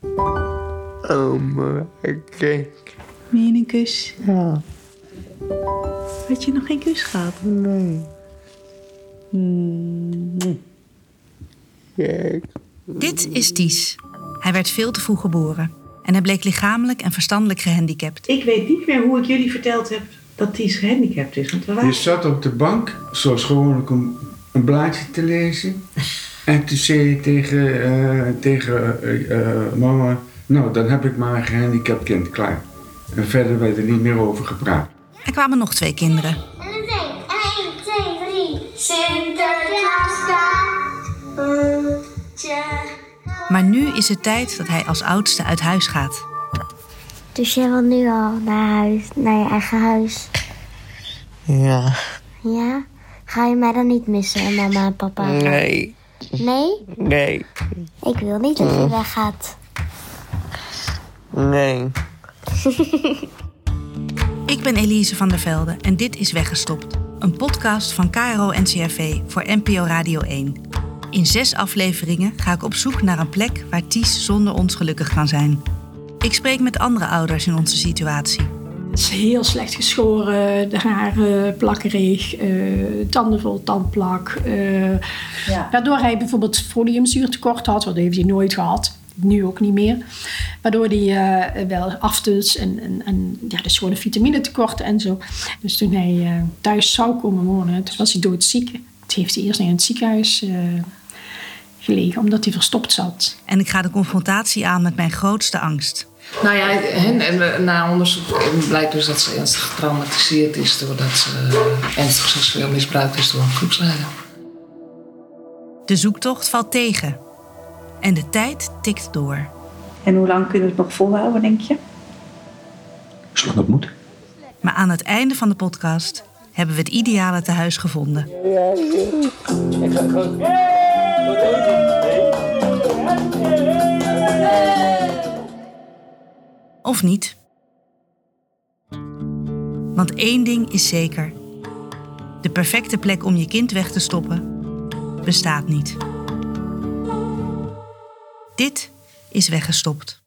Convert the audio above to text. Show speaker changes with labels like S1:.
S1: Oh Oma, kijk.
S2: Meer een kus.
S1: Ja,
S2: Had je nog geen kus gehad?
S1: nee. Mm. Kijk.
S3: Dit is Ties. Hij werd veel te vroeg geboren. En hij bleek lichamelijk en verstandelijk gehandicapt.
S2: Ik weet niet meer hoe ik jullie verteld heb dat Ties gehandicapt is. Want we waren...
S4: Je zat op de bank, zoals gewoonlijk, om een blaadje te lezen. En toen zei je tegen, eh, tegen eh, eh, mama, nou dan heb ik maar een gehandicapt kind, klaar. En verder werd er niet meer over gepraat.
S3: Er kwamen nog twee kinderen.
S5: En dan denk ik, 1, 2, 3. Sinterklaas kaartje.
S3: Maar nu is het tijd dat hij als oudste uit huis gaat.
S5: Dus jij wil nu al naar huis, naar je eigen huis.
S1: Ja,
S5: Ja? Ga je mij dan niet missen, hè, mama en papa?
S1: nee,
S5: Nee?
S1: nee,
S5: Ik wil niet dat je weggaat.
S1: nee.
S3: Ik ben Elise van der Velde en dit is Weggestopt. Een podcast van KRO NCRV voor NPO Radio 1. In zes afleveringen ga ik op zoek naar een plek waar Ties zonder ons gelukkig kan zijn. Ik spreek met andere ouders in onze situatie.
S6: Het is heel slecht geschoren, de haren plakkerig, eh, tanden vol tandplak. eh, Waardoor hij bijvoorbeeld foliumzuurtekort had, wat heeft hij nooit gehad. Nu ook niet meer. Waardoor hij eh, wel aftuts en, en, en ja, dus gewoon een vitamine en zo. Dus toen hij eh, thuis zou komen wonen, toen was hij doodziek. Toen heeft hij eerst in het ziekenhuis eh, gelegen, omdat hij verstopt zat.
S3: En ik ga de confrontatie aan met mijn grootste angst.
S7: Nou ja, hen, en we- na onderzoek blijkt dus dat ze ernstig getraumatiseerd is doordat ze eh, ernstig seksueel misbruikt is door een groepsleider.
S3: De zoektocht valt tegen. En de tijd tikt door.
S2: En hoe lang kunnen we het nog volhouden, denk je?
S8: Zolang dat moet.
S3: Maar aan het einde van de podcast hebben we het ideale tehuis gevonden. Of niet. Want één ding is zeker. De perfecte plek om je kind weg te stoppen bestaat niet. Dit is weggestopt.